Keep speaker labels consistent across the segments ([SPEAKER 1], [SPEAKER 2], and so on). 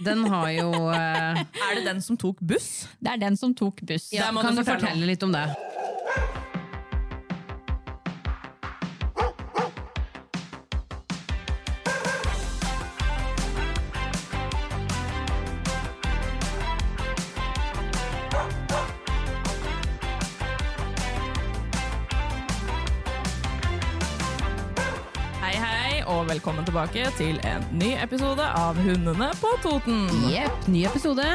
[SPEAKER 1] Den har jo eh,
[SPEAKER 2] Er det den som tok buss?
[SPEAKER 1] Det er den som tok buss.
[SPEAKER 2] Ja, må
[SPEAKER 1] kan
[SPEAKER 2] du
[SPEAKER 1] du
[SPEAKER 2] fortelle
[SPEAKER 1] fortelle litt om det?
[SPEAKER 2] Hei, hei, og velkommen tilbake til en ny episode av Hundene på Toten.
[SPEAKER 1] Jepp, ny episode.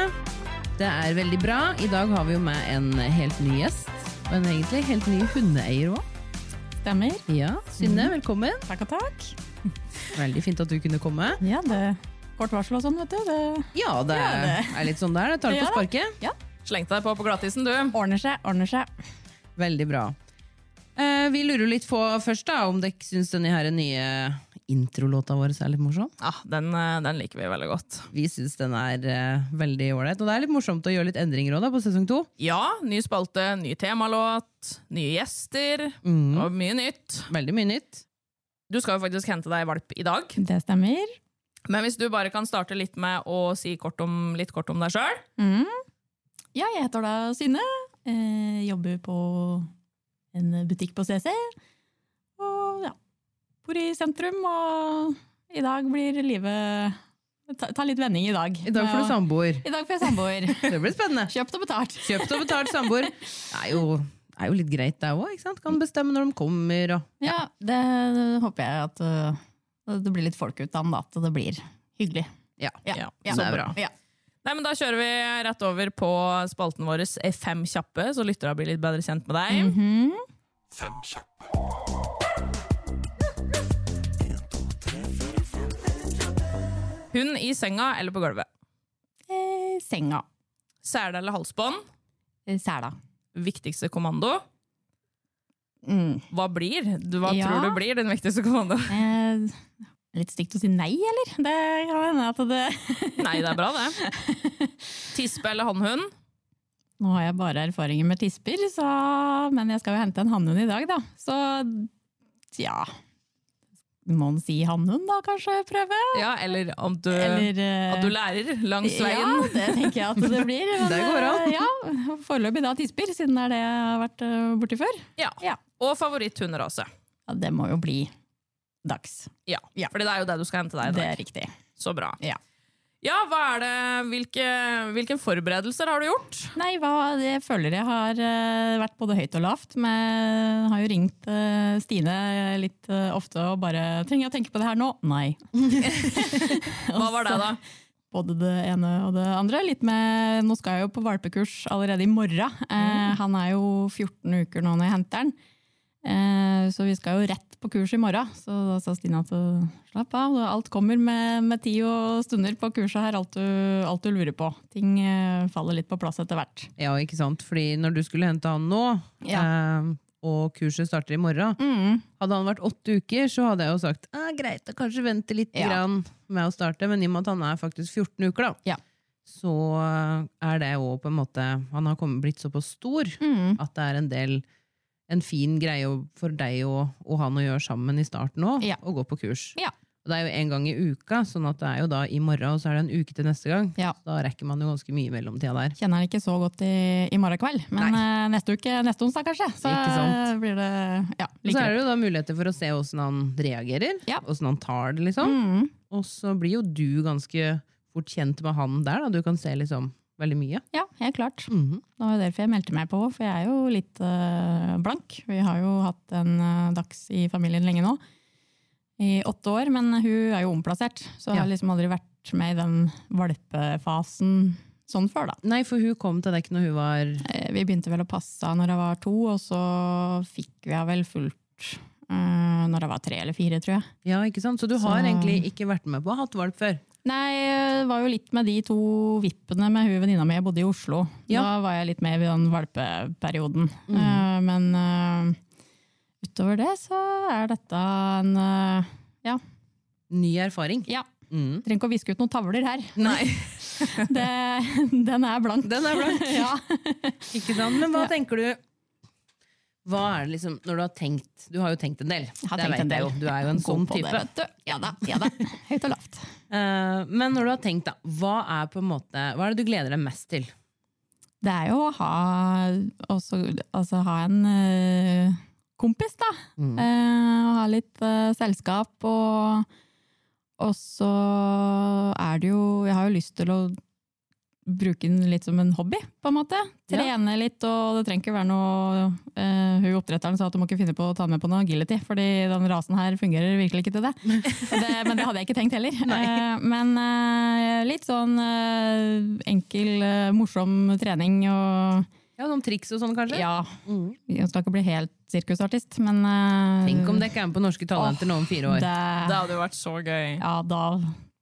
[SPEAKER 1] Det er veldig bra. I dag har vi jo med en helt ny gjest. Og en egentlig helt ny hundeeier òg.
[SPEAKER 2] Stemmer.
[SPEAKER 1] Ja, Synne, velkommen.
[SPEAKER 2] Takk og takk.
[SPEAKER 1] Mm. Veldig fint at du kunne komme.
[SPEAKER 2] Ja, det Kort varsel og sånn, vet du. Det
[SPEAKER 1] Ja, det er,
[SPEAKER 2] det.
[SPEAKER 1] litt sånn der. Jeg tar det på
[SPEAKER 2] Ja da.
[SPEAKER 1] sparket.
[SPEAKER 2] slengte deg på på glattisen, du.
[SPEAKER 3] Ordner seg, ordner seg.
[SPEAKER 1] Veldig bra. Eh, vi lurer litt på først da, om dere syns denne her nye introlåta vår er litt morsom.
[SPEAKER 2] Ja, den, eh, den liker vi veldig godt.
[SPEAKER 1] Vi syns den er eh, veldig ålreit. Og det er litt morsomt å gjøre litt endringer også da, på sesong to.
[SPEAKER 2] Ja, ny spalte, ny temalåt, nye gjester
[SPEAKER 1] Mm.
[SPEAKER 2] og mye nytt.
[SPEAKER 1] Veldig mye nytt.
[SPEAKER 2] Du skal jo faktisk hente deg valp i dag,
[SPEAKER 3] Det stemmer.
[SPEAKER 2] men hvis du bare kan starte litt med å si kort om, litt kort om deg sjøl.
[SPEAKER 3] Mm. Ja, jeg heter da Synne. Eh, jobber på en butikk på CC. Og ja, bor i sentrum, og i dag blir livet Ta, ta litt vending i dag.
[SPEAKER 1] I dag får du samboer.
[SPEAKER 3] I dag får jeg samboer.
[SPEAKER 1] Det blir spennende.
[SPEAKER 3] Kjøpt og betalt.
[SPEAKER 1] Kjøpt og betalt samboer. Det er jo, er jo litt greit, det òg. Kan bestemme når de kommer. Og.
[SPEAKER 3] Ja, det håper jeg at uh, det blir litt folk ut av den, da. At det blir hyggelig.
[SPEAKER 1] Ja.
[SPEAKER 2] Ja,
[SPEAKER 1] så bra.
[SPEAKER 3] Ja.
[SPEAKER 2] Nei, men Da kjører vi rett over på spalten vår eh, Fem kjappe, så lytterne blir litt bedre kjent med deg.
[SPEAKER 3] Mhm.
[SPEAKER 4] Fem kjappe.
[SPEAKER 2] Hund i senga eller på gulvet.
[SPEAKER 3] eh, senga.
[SPEAKER 2] Sele eller halsbånd.
[SPEAKER 3] Eh, Sela.
[SPEAKER 2] Viktigste kommando.
[SPEAKER 3] Mm.
[SPEAKER 2] Hva blir? Du, hva
[SPEAKER 3] Ja.
[SPEAKER 2] tror du blir den viktigste kommando?
[SPEAKER 3] Eh, litt stygt å si nei, eller? Det kan hende at det
[SPEAKER 2] Nei, det er bra, det. Tispe eller hannhund.
[SPEAKER 3] Nå har jeg bare erfaringer med tisper, så... men jeg skal jo hente en hannhund i dag, da. Så ja Må en si hannhund, da, kanskje? Prøve?
[SPEAKER 2] Ja, eller om du,
[SPEAKER 3] Eller eh,
[SPEAKER 2] at du lærer langs
[SPEAKER 3] Ja,
[SPEAKER 2] veien.
[SPEAKER 3] det tenker jeg at det blir. Men,
[SPEAKER 1] Det går an.
[SPEAKER 3] eh, Ja, Foreløpig da tisper, siden det er det jeg har vært eh, borti før.
[SPEAKER 2] Ja.
[SPEAKER 3] Ja.
[SPEAKER 2] Og favoritthunderase.
[SPEAKER 3] Ja, det må jo bli dags.
[SPEAKER 2] Ja.
[SPEAKER 3] Ja.
[SPEAKER 2] Fordi det er jo det du skal hente deg i
[SPEAKER 3] Det
[SPEAKER 2] dag.
[SPEAKER 3] er riktig.
[SPEAKER 2] Så bra.
[SPEAKER 3] Ja.
[SPEAKER 2] Ja, hva er det, hvilke, hvilke forberedelser har du gjort?
[SPEAKER 3] Nei, hva, jeg føler jeg har eh, vært både høyt og lavt. Men har jo ringt eh, Stine litt eh, ofte og bare 'Trenger jeg å tenke på det her nå?' Nei.
[SPEAKER 2] Hva var det, da?
[SPEAKER 3] Både det ene og det andre. Litt med, nå skal jeg jo på valpekurs allerede i morgen. Eh,
[SPEAKER 2] Mm.
[SPEAKER 3] han er jo 14 uker nå når jeg henter han. Eh, så vi skal jo rett på kurs i morgen. Så da sa Stine at eh, slapp av, alt kommer med, med tid og stunder på kurset her. Alt du, alt du lurer på. Ting eh, faller litt på plass etter hvert.
[SPEAKER 1] Ja, ikke sant? Fordi når du skulle hente han nå, eh, og kurset starter i morgen
[SPEAKER 3] Mm.
[SPEAKER 1] Hadde han vært åtte uker, så hadde jeg jo sagt ah, greit, da kanskje vente litt
[SPEAKER 3] Ja.
[SPEAKER 1] grann med å starte. Men i og med at han er faktisk 14 uker, da,
[SPEAKER 3] Ja.
[SPEAKER 1] så eh, er det jo på en måte Han har kommet, blitt såpass stor
[SPEAKER 3] Mm.
[SPEAKER 1] at det er en del en fin greie å- for deg og, og han å gjøre sammen i starten òg,
[SPEAKER 3] Ja.
[SPEAKER 1] å gå på kurs.
[SPEAKER 3] Ja.
[SPEAKER 1] Og det er jo en gang i uka, sånn at det er jo da i morgen, og så er det en uke til neste gang.
[SPEAKER 3] Ja.
[SPEAKER 1] Så Da rekker man jo ganske mye i mellomtida der.
[SPEAKER 3] Kjenner han ikke så godt i, i morgen kveld, men eh, neste uke, neste onsdag kanskje. Så
[SPEAKER 1] Ikke sant.
[SPEAKER 3] blir det ja,
[SPEAKER 1] Og så
[SPEAKER 3] like
[SPEAKER 1] er det
[SPEAKER 3] greit.
[SPEAKER 1] jo da muligheter for å se åssen han reagerer,
[SPEAKER 3] Ja.
[SPEAKER 1] åssen han tar det, liksom.
[SPEAKER 3] Mm,
[SPEAKER 1] Og så blir jo du ganske fort kjent med han der, da. Du kan se liksom veldig mye.
[SPEAKER 3] ja, helt klart.
[SPEAKER 1] Mhm.
[SPEAKER 3] Det var jo derfor jeg meldte meg på, for jeg er jo litt eh, blank. Vi har jo hatt en eh, dags i familien lenge nå, i åtte år, men hun er jo omplassert. Så jeg har
[SPEAKER 1] Ja.
[SPEAKER 3] liksom aldri vært med i den valpefasen sånn før, da.
[SPEAKER 1] Nei, for hun kom til deg når hun var
[SPEAKER 3] Eh, Vi begynte vel å passe henne når jeg var to, og så fikk vi henne vel fullt eh, når jeg var tre eller fire, tror jeg.
[SPEAKER 1] Ja, ikke sant? Så du
[SPEAKER 3] Så-
[SPEAKER 1] har egentlig ikke vært med på å ha hatt valp før?
[SPEAKER 3] Nei, det var jo litt med de to vippene med hun venninna mi. Jeg bodde i Oslo.
[SPEAKER 1] Ja. Mm.
[SPEAKER 3] Da var jeg litt med i den valpeperioden. Eh, men eh, utover det så er dette en eh, Ja.
[SPEAKER 1] Ny erfaring.
[SPEAKER 3] ja.
[SPEAKER 1] Mm.
[SPEAKER 3] Trenger ikke å viske ut noen tavler her.
[SPEAKER 1] Nei,
[SPEAKER 3] Det, den er blank.
[SPEAKER 1] den er blank.
[SPEAKER 3] ja.
[SPEAKER 1] Ikke sant? Men hva tenker du Hva er det liksom Når du har tenkt Du har jo tenkt en del.
[SPEAKER 3] Jeg har
[SPEAKER 1] Det
[SPEAKER 3] tenkt
[SPEAKER 1] vet
[SPEAKER 3] en
[SPEAKER 1] jeg
[SPEAKER 3] del.
[SPEAKER 1] jo. Du er jo en
[SPEAKER 3] God
[SPEAKER 1] sånn
[SPEAKER 3] på det,
[SPEAKER 1] type.
[SPEAKER 3] vet du. Ja da. ja da. Høyt og lavt.
[SPEAKER 1] Eh, men når du har tenkt, da, hva er på en måte Hva er det du gleder deg mest til?
[SPEAKER 3] Det er jo å ha, også, altså, ha en eh, kompis, da. Eh, og ha litt eh, selskap. Og, og så er det jo Jeg har jo lyst til å bruke den litt som en hobby, på en måte.
[SPEAKER 1] Ja.
[SPEAKER 3] Trene litt, og det trenger ikke være noe eh, Hun oppdretteren sa at du må ikke finne på å ta med på noe agility, fordi den rasen her fungerer virkelig ikke til det. Så det men det hadde jeg ikke tenkt heller. Eh, men eh, litt sånn eh, enkel, eh, morsom trening og
[SPEAKER 1] Ja, Noen triks og sånn, kanskje?
[SPEAKER 3] Ja.
[SPEAKER 1] Mm.
[SPEAKER 3] Jeg skal ikke bli helt sirkusartist, men eh,
[SPEAKER 1] Tenk om dere ikke er med på Norske Talenter nå om fire år.
[SPEAKER 3] det-
[SPEAKER 2] Det hadde jo vært så gøy.
[SPEAKER 3] ja, da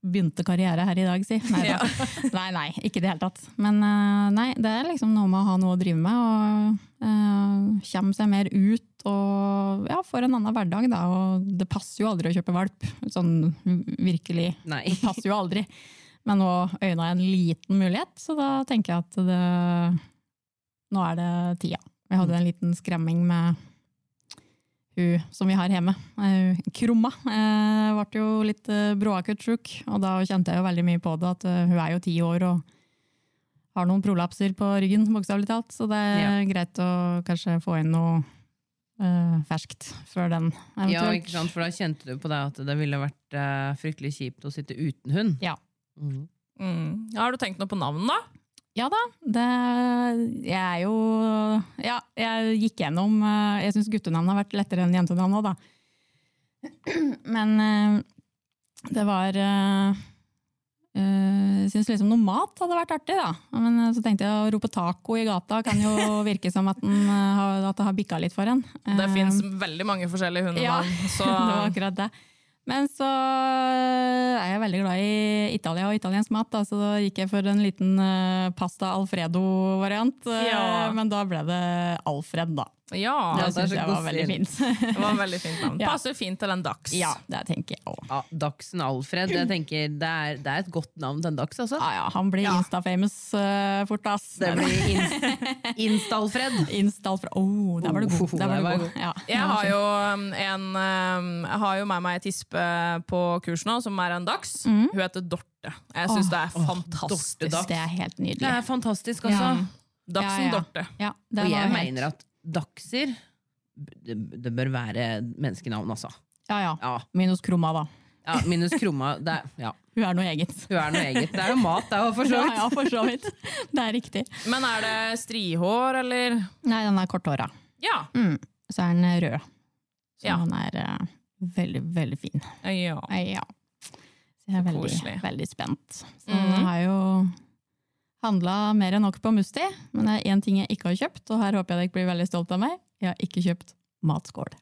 [SPEAKER 3] begynte karriere her i dag, si. Nei, da. nei, nei, ikke i det hele tatt. Men eh, nei, det er liksom noe med å ha noe å drive med, og uh, komme seg mer ut og ja, får en annen hverdag, da. Og det passer jo aldri å kjøpe valp, sånn virkelig.
[SPEAKER 1] Nei.
[SPEAKER 3] Det passer jo aldri. Men nå øyna jeg en liten mulighet, så da tenker jeg at det Nå er det tida. Jeg hadde en liten skremming med hun som vi har hjemme. Eh, Krumma eh, ble jo litt eh, bråakutt sjuk, og da kjente jeg jo veldig mye på det. At eh, hun er jo ti år og har noen prolapser på ryggen, bokstavelig talt. Så det er greit å kanskje få inn noe eh, ferskt før den
[SPEAKER 1] Ja,
[SPEAKER 3] eventuelt.
[SPEAKER 1] ikke sant? For da kjente du på deg at det ville vært eh, fryktelig kjipt å sitte uten hund.
[SPEAKER 3] Ja.
[SPEAKER 1] Mhm.
[SPEAKER 2] Mm. Har du tenkt noe på navn, da?
[SPEAKER 3] Ja da, det, jeg er jo Ja, jeg gikk gjennom eh, Jeg syns guttenavn har vært lettere enn jentenavn òg, da. Men eh, det var eh, eh, Jeg syns liksom noe mat hadde vært artig, da. Men eh, så tenkte jeg å rope taco i gata kan jo virke som at, den, eh, har- at det har bikka litt for en.
[SPEAKER 2] Det
[SPEAKER 3] Eh,
[SPEAKER 2] fins veldig mange forskjellige
[SPEAKER 3] ja,
[SPEAKER 2] hundenavn. Så
[SPEAKER 3] det var akkurat det. Men så eh, er jeg veldig glad i Italia og italiensk mat, da, så da gikk jeg for en liten eh, pasta alfredo-variant. eh,
[SPEAKER 2] Ja.
[SPEAKER 3] Men da ble det Alfred, da.
[SPEAKER 2] ja,
[SPEAKER 3] Det
[SPEAKER 1] det er
[SPEAKER 3] syns
[SPEAKER 1] så
[SPEAKER 3] jeg
[SPEAKER 1] god
[SPEAKER 3] var veldig
[SPEAKER 1] stil.
[SPEAKER 3] fint.
[SPEAKER 2] det var et veldig fint navn.
[SPEAKER 3] Ja.
[SPEAKER 2] Passer fint til en dags.
[SPEAKER 3] ja, det tenker jeg òg.
[SPEAKER 1] Ja, Ah, Dagsen Alfred, jeg tenker det er, det er et godt navn til en dags, altså.
[SPEAKER 3] Ja, ja, han blir Insta-famous eh, fort, ass.
[SPEAKER 1] Det blir inst- Insta-Alfred.
[SPEAKER 3] Insta-Alfred. Oh, der var du god.
[SPEAKER 1] Oh,
[SPEAKER 3] Der
[SPEAKER 1] der
[SPEAKER 3] var
[SPEAKER 1] var jeg
[SPEAKER 3] du god.
[SPEAKER 1] god.
[SPEAKER 3] Ja.
[SPEAKER 2] Jeg har jo um, en um, Jeg har jo med meg et tispe på kurs nå, som er en dags.
[SPEAKER 3] Mm.
[SPEAKER 2] Hun heter Dorte. Jeg syns det er fantastisk.
[SPEAKER 1] Dorte, da.
[SPEAKER 3] Det er helt
[SPEAKER 1] Det
[SPEAKER 3] nydelig.
[SPEAKER 1] er fantastisk, altså.
[SPEAKER 3] Ja. Ja,
[SPEAKER 2] Dagsen
[SPEAKER 3] ja.
[SPEAKER 2] Dorte.
[SPEAKER 3] Ja, det
[SPEAKER 1] Og
[SPEAKER 3] var
[SPEAKER 1] jeg
[SPEAKER 3] helt-
[SPEAKER 1] mener at dagser det, det bør være menneskenavn, altså.
[SPEAKER 3] ja, ja.
[SPEAKER 1] Ja,
[SPEAKER 3] Minus krumma, da.
[SPEAKER 1] ja Minus krumma. Det er, ja.
[SPEAKER 3] Hun er noe eget.
[SPEAKER 1] Hun er noe eget. Det er jo mat, det er jo for så
[SPEAKER 3] Ja,
[SPEAKER 1] vidt.
[SPEAKER 3] ja, for så vidt. Det er riktig.
[SPEAKER 2] Men er det strihår, eller?
[SPEAKER 3] Nei, den er korthåra.
[SPEAKER 2] Ja.
[SPEAKER 3] Så er den rød. Så
[SPEAKER 2] Ja.
[SPEAKER 3] den er eh, veldig, veldig fin.
[SPEAKER 2] ja.
[SPEAKER 3] Eh, Ja. Så jeg er veldig,
[SPEAKER 2] koselig.
[SPEAKER 3] veldig spent. Så
[SPEAKER 2] Mhm.
[SPEAKER 3] jeg har jo handla mer enn nok på Musti, men det er én ting jeg ikke har kjøpt, og her håper jeg dere blir veldig stolt av meg. Jeg har ikke kjøpt matskål.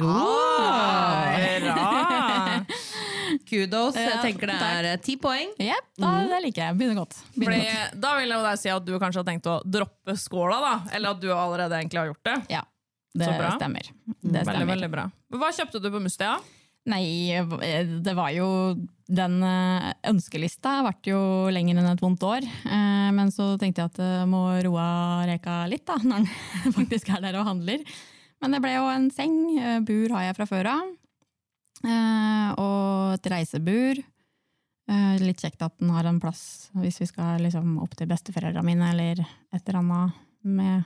[SPEAKER 1] Ah,
[SPEAKER 2] Bra!
[SPEAKER 1] kudos. Jeg
[SPEAKER 3] Ja,
[SPEAKER 1] tenker det
[SPEAKER 3] takk.
[SPEAKER 1] er eh, ti poeng.
[SPEAKER 3] Jepp, da,
[SPEAKER 2] Mhm.
[SPEAKER 3] det liker jeg. Begynner godt. Begynner
[SPEAKER 2] Fordi,
[SPEAKER 3] godt.
[SPEAKER 2] da vil jeg jo da si at du kanskje har tenkt å droppe skåla, da. Eller at du allerede egentlig har gjort det.
[SPEAKER 3] Ja, det
[SPEAKER 2] Så bra. Mm.
[SPEAKER 3] stemmer. Det
[SPEAKER 2] Veldig,
[SPEAKER 3] stemmer.
[SPEAKER 2] veldig bra. Hva kjøpte du på Mustia?
[SPEAKER 3] Nei, eh, det var jo Den eh, ønskelista ble jo lenger enn et vondt år. Eh, Men så tenkte jeg at jeg må roe reka litt, da, når den faktisk er der og handler. Men det ble jo en seng. eh, Bur har jeg fra før av. Eh, Og et reisebur. Eh, Litt kjekt at den har en plass hvis vi skal liksom opp til besteforeldrene mine eller et eller annet med,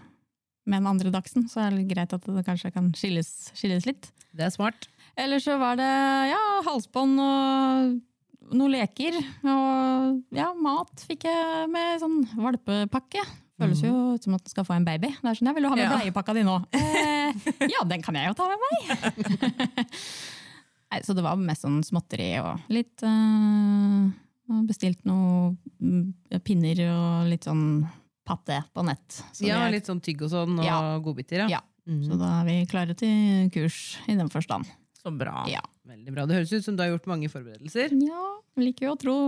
[SPEAKER 3] med den andre dagsen. Så er det greit at det kanskje kan skilles, skilles litt.
[SPEAKER 1] Det er smart.
[SPEAKER 3] Eller så var det ja, halsbånd og noen leker. Og ja, mat fikk jeg med sånn valpepakke. Føles jo
[SPEAKER 1] Mm.
[SPEAKER 3] som at du skal få en baby. Det er sånn, jeg vil jo ha med
[SPEAKER 2] Ja.
[SPEAKER 3] bleiepakka di nå. Eh, ja, den kan jeg jo ta med meg! Nei, så det var mest sånn småtteri og litt eh, og Bestilt noen mm, pinner og litt sånn paté på nett. Så,
[SPEAKER 1] Ja,
[SPEAKER 3] vi er,
[SPEAKER 1] litt sånn tygg og sånn, og
[SPEAKER 3] Ja.
[SPEAKER 1] godbiter. Ja. Mm.
[SPEAKER 3] Ja. så da er vi klare til kurs i den forstand.
[SPEAKER 2] Så bra.
[SPEAKER 3] Ja.
[SPEAKER 1] Veldig bra. Det høres ut som du har gjort mange forberedelser.
[SPEAKER 3] Ja, liker jo å tro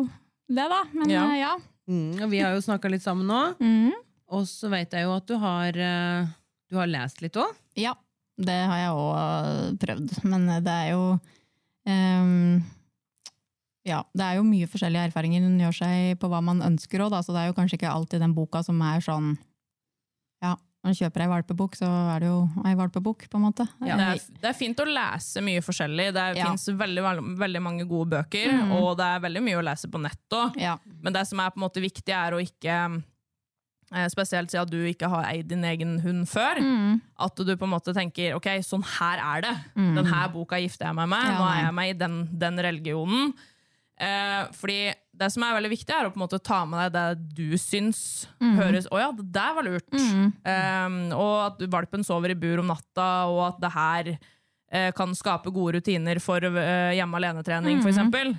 [SPEAKER 3] det, da. Men
[SPEAKER 2] Ja.
[SPEAKER 3] eh, ja.
[SPEAKER 1] Mm, og vi har jo snakka litt sammen nå,
[SPEAKER 3] Mm.
[SPEAKER 1] og så veit jeg jo at du har, eh, du har lest litt òg.
[SPEAKER 3] Ja, det har jeg òg prøvd. Men eh, det er jo ehm, Ja, det er jo mye forskjellige erfaringer hun gjør seg på hva man ønsker òg, da, så det er jo kanskje ikke alltid den boka som er sånn Ja, når du kjøper ei valpebok, så er det jo ei valpebok, på en måte.
[SPEAKER 2] Det, er, det er fint å lese mye forskjellig. Det
[SPEAKER 3] Ja. Mm.
[SPEAKER 2] finnes veldig, vel- veldig mange gode bøker, og det er veldig mye å lese på nett òg.
[SPEAKER 3] Ja.
[SPEAKER 2] Men det som er på en måte viktig, er å ikke eh, Spesielt siden du ikke har eid din egen hund før.
[SPEAKER 3] Mm.
[SPEAKER 2] At du på en måte tenker ok, sånn her er det. Den her boka gifter jeg meg med.
[SPEAKER 3] Ja,
[SPEAKER 2] Nå
[SPEAKER 3] nei.
[SPEAKER 2] er jeg meg i den, den religionen. Eh, fordi det som er veldig viktig, er å på en måte ta med deg det du syns
[SPEAKER 3] Mm.
[SPEAKER 2] høres Å ja, det der var lurt. Eh, og at valpen sover i bur om natta, og at det her eh, kan skape gode rutiner for eh, hjemme alene-trening, for eksempel.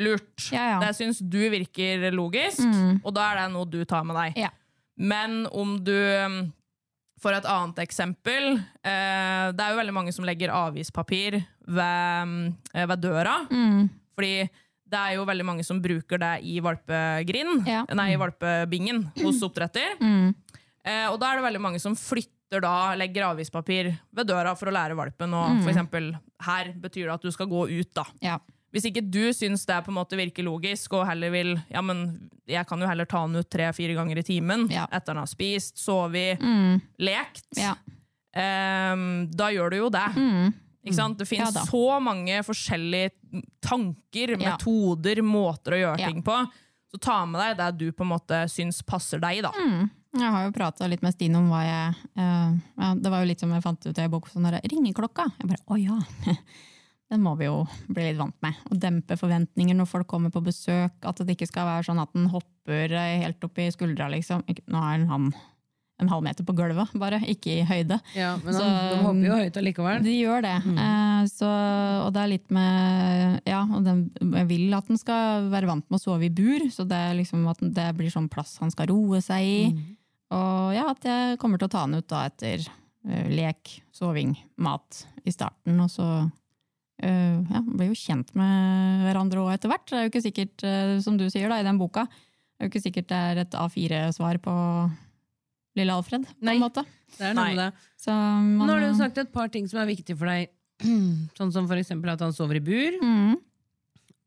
[SPEAKER 2] Lurt.
[SPEAKER 3] Mm. Ja, ja.
[SPEAKER 2] Det syns du virker logisk, og da er det noe du tar med deg.
[SPEAKER 3] Ja.
[SPEAKER 2] Men om du um, For et annet eksempel eh, Det er jo veldig mange som legger avispapir ved, um, eh, ved døra. Fordi det er jo veldig mange som bruker det i valpegrind,
[SPEAKER 3] Ja.
[SPEAKER 2] nei, i valpebingen hos oppdretter. Eh, og da er det veldig mange som flytter da, legger avispapir ved døra for å lære valpen. Og for eksempel, her betyr det at du skal gå ut, da.
[SPEAKER 3] Ja.
[SPEAKER 2] Hvis ikke du syns det på en måte virker logisk, og heller vil Ja, men jeg kan jo heller ta han ut tre-fire ganger i timen
[SPEAKER 3] Ja. Mm.
[SPEAKER 2] etter han har spist, sovet, lekt.
[SPEAKER 3] Ja. Mm.
[SPEAKER 2] ehm, da gjør du jo det. Ikke sant? Det
[SPEAKER 3] Ja
[SPEAKER 2] finnes
[SPEAKER 3] da.
[SPEAKER 2] så mange forskjellige tanker,
[SPEAKER 3] Ja.
[SPEAKER 2] metoder, måter å gjøre
[SPEAKER 3] Ja.
[SPEAKER 2] ting på. Så ta med deg det du på en måte syns passer deg, da.
[SPEAKER 3] Jeg har jo prata litt med Stine om hva jeg eh, ja, Det var jo litt som jeg fant ut i en bok sånn der, Ringeklokka! Jeg bare å ja! Den må vi jo bli litt vant med. Og dempe forventninger når folk kommer på besøk. At det ikke skal være sånn at den hopper eh, helt opp i skuldra, liksom. Ikke- Nå er den han en halv meter på gulvet, bare. Ikke i høyde.
[SPEAKER 1] Ja, men
[SPEAKER 3] Så-
[SPEAKER 1] han- de hopper jo høyt allikevel.
[SPEAKER 3] De gjør det.
[SPEAKER 1] Mm.
[SPEAKER 3] Eh, så, og det er litt med Ja, og den, jeg vil at den skal være vant med å sove i bur, så det, er liksom at den- det blir sånn plass han skal roe seg i.
[SPEAKER 1] Mm.
[SPEAKER 3] Og ja, at jeg kommer til å ta den ut da etter eh, lek, soving, mat i starten, og så eh, ja, blir jo kjent med hverandre òg etter hvert. Det er jo ikke sikkert, eh, som du sier da, i den boka, det er jo ikke sikkert det er et A4-svar på lille Alfred, på
[SPEAKER 1] Nei.
[SPEAKER 3] en måte.
[SPEAKER 1] Det er noe med
[SPEAKER 2] Nei.
[SPEAKER 1] det.
[SPEAKER 3] Så man,
[SPEAKER 1] Nå har du jo sagt et par ting som er viktige for deg, sånn som for eksempel at han sover i bur,
[SPEAKER 3] Mm,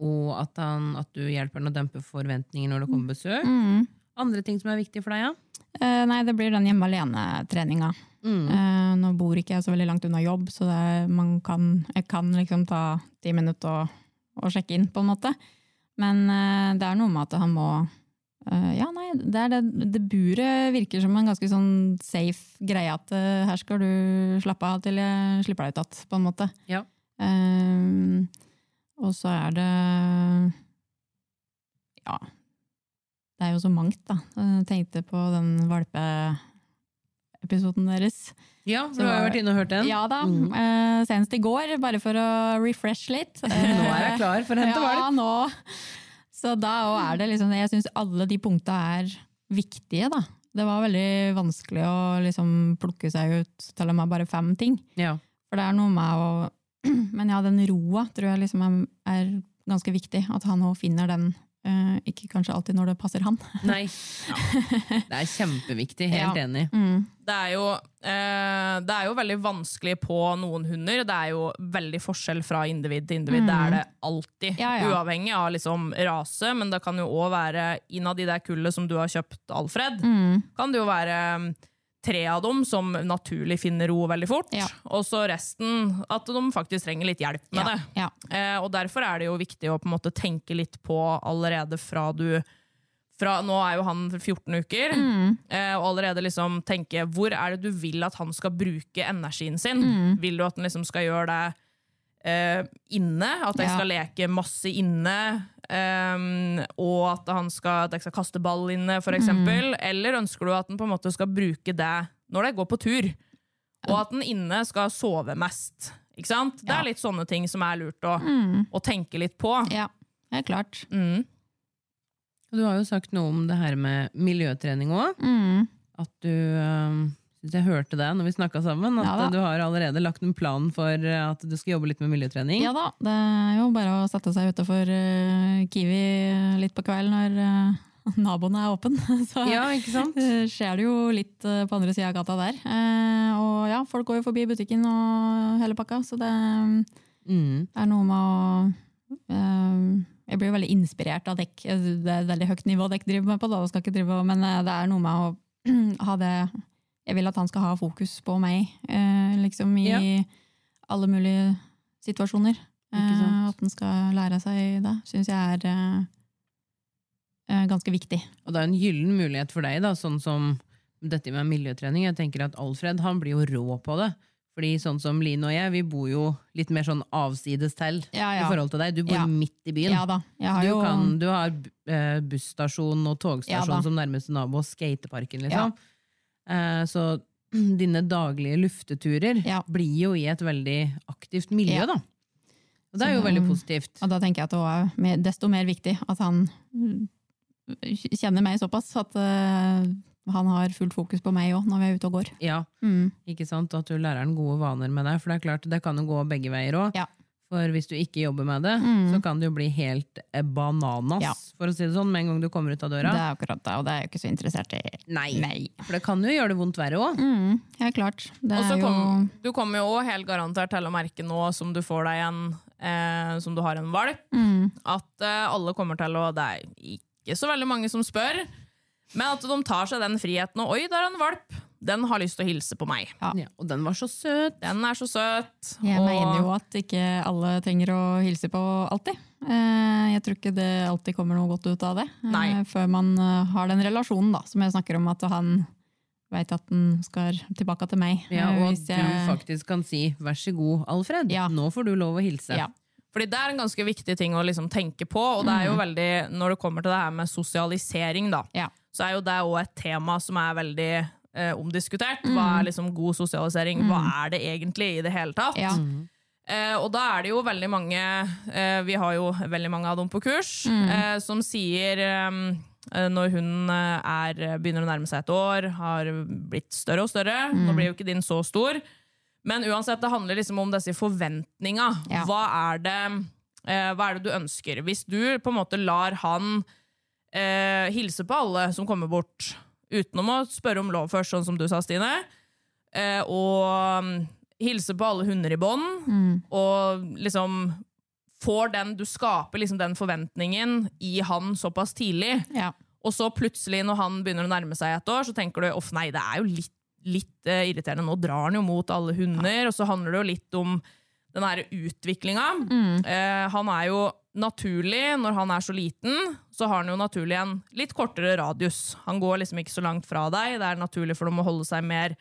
[SPEAKER 1] og at, han, at du hjelper han å dempe forventninger når det kommer besøk.
[SPEAKER 3] mm.
[SPEAKER 1] Andre ting som er viktige for deg, ja?
[SPEAKER 3] Eh, nei, det blir den hjemme alene-treninga.
[SPEAKER 1] Mm.
[SPEAKER 3] Eh, nå bor ikke jeg så veldig langt unna jobb, så det er, man kan, jeg kan liksom ta ti minutter og, og sjekke inn, på en måte. Men eh, det er noe med at han må eh, Ja, nei, det, er det, det buret virker som en ganske sånn safe greie at eh, her skal du slappe av til jeg slipper deg ut igjen, på en måte.
[SPEAKER 1] Ja.
[SPEAKER 3] Eh, og så er det Ja. Det er jo så mangt, da. Jeg tenkte på den valpeepisoden deres.
[SPEAKER 1] Ja,
[SPEAKER 3] Så
[SPEAKER 1] for du har jo
[SPEAKER 3] var-
[SPEAKER 1] vært inne og hørt den.
[SPEAKER 3] Ja da.
[SPEAKER 1] Mm.
[SPEAKER 3] eh, senest i går, bare for å refresh litt.
[SPEAKER 1] Nå er jeg klar for å
[SPEAKER 3] ja,
[SPEAKER 1] hente valp.
[SPEAKER 3] nå. Så da og er det liksom Jeg syns alle de punkta er viktige, da. Det var veldig vanskelig å liksom plukke seg ut til og med bare fem ting.
[SPEAKER 1] Ja.
[SPEAKER 3] For det er noe med å Men ja, den roa tror jeg liksom er, er ganske viktig. At han òg finner den. eh, ikke kanskje alltid når det passer han.
[SPEAKER 1] Nei. Det er kjempeviktig. Helt
[SPEAKER 3] Ja.
[SPEAKER 1] enig.
[SPEAKER 2] det er, jo, eh, det er jo veldig vanskelig på noen hunder. Det er jo veldig forskjell fra individ til individ. Det er det alltid.
[SPEAKER 3] Mm. Ja, ja.
[SPEAKER 2] Uavhengig av liksom rase, men det kan jo òg være innad i det kullet som du har kjøpt, Alfred, kan det jo være mm, tre av dem som naturlig finner ro veldig fort,
[SPEAKER 3] Ja.
[SPEAKER 2] og så resten at de faktisk trenger litt hjelp med
[SPEAKER 3] ja,
[SPEAKER 2] det.
[SPEAKER 3] ja.
[SPEAKER 2] Eh, og derfor er det jo viktig å på en måte tenke litt på allerede fra du fra, Nå er jo han 14 uker, eh, og allerede liksom tenke hvor er det du vil at han skal bruke energien sin? Vil du at han liksom skal gjøre det eh, inne? At jeg
[SPEAKER 3] Ja.
[SPEAKER 2] skal leke masse inne? ehm, og at, han skal, at jeg skal kaste ball inne, for eksempel? Eller ønsker du at han på en måte skal bruke det når de går på tur? Og at den inne skal sove mest. Ikke sant? Det
[SPEAKER 3] Ja. Mm.
[SPEAKER 2] er litt sånne ting som er lurt å, å tenke litt på.
[SPEAKER 3] ja. Det er klart.
[SPEAKER 2] Mm.
[SPEAKER 1] Du har jo sagt noe om det her med miljøtrening òg.
[SPEAKER 3] Mm.
[SPEAKER 1] At du øh, synes jeg hørte det når vi snakka sammen, at
[SPEAKER 3] Ja da.
[SPEAKER 1] du har allerede lagt en plan for eh, at du skal jobbe litt med miljøtrening.
[SPEAKER 3] Ja da, det er jo bare å sette seg utafor eh, Kiwi litt på kvelden når eh, naboen er åpen. Så
[SPEAKER 1] Ja, ikke sant?
[SPEAKER 3] eh, skjer det jo litt eh, på andre sida av gata der. Eh, og ja, folk går jo forbi butikken og hele pakka, så det
[SPEAKER 1] Mm.
[SPEAKER 3] er noe med å eh, Jeg blir jo veldig inspirert av dekk. Eh, Det er et veldig høyt nivå dekk driver med på, da, og skal ikke drive, og- men eh, det er noe med å ha det Jeg vil at han skal ha fokus på meg, eh, liksom i
[SPEAKER 1] Ja.
[SPEAKER 3] alle mulige situasjoner.
[SPEAKER 1] Ikke sant.
[SPEAKER 3] Eh, at han skal lære seg det, syns jeg er eh, eh, ganske viktig.
[SPEAKER 1] Og det er en gyllen mulighet for deg, da, sånn som dette med miljøtrening. Jeg tenker at Alfred han blir jo rå på det. Fordi sånn som Line og jeg, vi bor jo litt mer sånn avsides til
[SPEAKER 3] Ja,
[SPEAKER 1] i
[SPEAKER 3] ja.
[SPEAKER 1] forhold til deg. Du bor
[SPEAKER 3] Ja.
[SPEAKER 1] midt i byen.
[SPEAKER 3] Ja da. Jeg har
[SPEAKER 1] Du,
[SPEAKER 3] jo
[SPEAKER 1] kan, du har eh, busstasjon og
[SPEAKER 3] Ja da.
[SPEAKER 1] togstasjon som nærmeste nabo, og skateparken, liksom. Eh, så dine daglige lufteturer
[SPEAKER 3] Ja.
[SPEAKER 1] blir jo i et veldig aktivt miljø,
[SPEAKER 3] Ja.
[SPEAKER 1] da. Og det er jo
[SPEAKER 3] Så det-
[SPEAKER 1] veldig positivt.
[SPEAKER 3] Og da tenker jeg at det også er mer- desto mer viktig at han mm, kjenner meg såpass at eh, han har fullt fokus på meg òg når vi er ute og går.
[SPEAKER 1] Ja,
[SPEAKER 3] Mm.
[SPEAKER 1] ikke sant? At du lærer den gode vaner med deg. For det er klart, det kan jo gå begge veier òg.
[SPEAKER 3] Ja.
[SPEAKER 1] For hvis du ikke jobber med det,
[SPEAKER 3] Mm.
[SPEAKER 1] så kan det jo bli helt eh, bananas,
[SPEAKER 3] Ja.
[SPEAKER 1] for å si det sånn, med en gang du kommer ut av
[SPEAKER 3] Det
[SPEAKER 1] døra.
[SPEAKER 3] er akkurat det, og det er jeg jo ikke så interessert i.
[SPEAKER 1] Nei.
[SPEAKER 3] Nei.
[SPEAKER 1] For det kan jo gjøre det vondt verre òg.
[SPEAKER 3] Mm, helt klart. Det
[SPEAKER 2] Og så
[SPEAKER 3] er jo
[SPEAKER 2] kom, du kommer jo også helt garantert til å merke nå som du får deg en eh, Som du har en valp,
[SPEAKER 3] mm,
[SPEAKER 2] at eh, alle kommer til å Det er ikke så veldig mange som spør, men at de tar seg den friheten. Og oi, der er en valp! Den har lyst til å hilse på meg.
[SPEAKER 3] Ja.
[SPEAKER 1] Ja, og den var så søt!
[SPEAKER 2] Den er så søt.
[SPEAKER 3] Jeg
[SPEAKER 2] og-
[SPEAKER 3] mener jo at ikke alle trenger å hilse på alltid. Eh, Jeg tror ikke det alltid kommer noe godt ut av det. eh,
[SPEAKER 2] Nei.
[SPEAKER 3] Før man eh, har den relasjonen, da, som jeg snakker om, at han veit at han skal tilbake til meg.
[SPEAKER 1] Ja,
[SPEAKER 3] Eh,
[SPEAKER 1] og
[SPEAKER 3] hvis jeg-
[SPEAKER 1] du faktisk kan si 'vær så god, Alfred,
[SPEAKER 3] Ja.
[SPEAKER 1] nå får du lov å hilse'.
[SPEAKER 3] Ja.
[SPEAKER 2] Fordi det er en ganske viktig ting å liksom tenke på. Og det
[SPEAKER 3] Mm.
[SPEAKER 2] er jo veldig, når det kommer til det her med sosialisering, da,
[SPEAKER 3] Ja.
[SPEAKER 2] så er jo det òg et tema som er veldig eh, omdiskutert. Hva er liksom god sosialisering? Hva er det egentlig i det hele tatt?
[SPEAKER 3] Ja.
[SPEAKER 1] Mm.
[SPEAKER 2] Eh, og da er det jo veldig mange eh, Vi har jo veldig mange av dem på kurs eh, som sier ehm, eh, når hun eh, er, begynner å nærme seg et år, har blitt større og større Nå blir jo ikke din så stor. Men uansett, det handler liksom om disse forventninga.
[SPEAKER 3] Ja.
[SPEAKER 2] Hva, er det, eh, hva er det du ønsker? Hvis du på en måte lar han eh, hilse på alle som kommer bort, utenom å spørre om lov først, sånn som du sa, Stine, eh, og mm, hilse på alle hunder i bånd, og liksom får den, du skaper liksom den forventningen i han såpass tidlig,
[SPEAKER 3] Ja.
[SPEAKER 2] og så plutselig når han begynner å nærme seg et år, så tenker du, off nei, det er jo litt, litt eh, irriterende, nå drar han jo mot alle hunder, og så handler det jo litt om den her utviklingen.
[SPEAKER 3] Mm.
[SPEAKER 2] Eh, han er jo naturlig, når han er så liten, så har han jo naturlig en litt kortere radius. Han går liksom ikke så langt fra deg, det er naturlig for dem å holde seg mer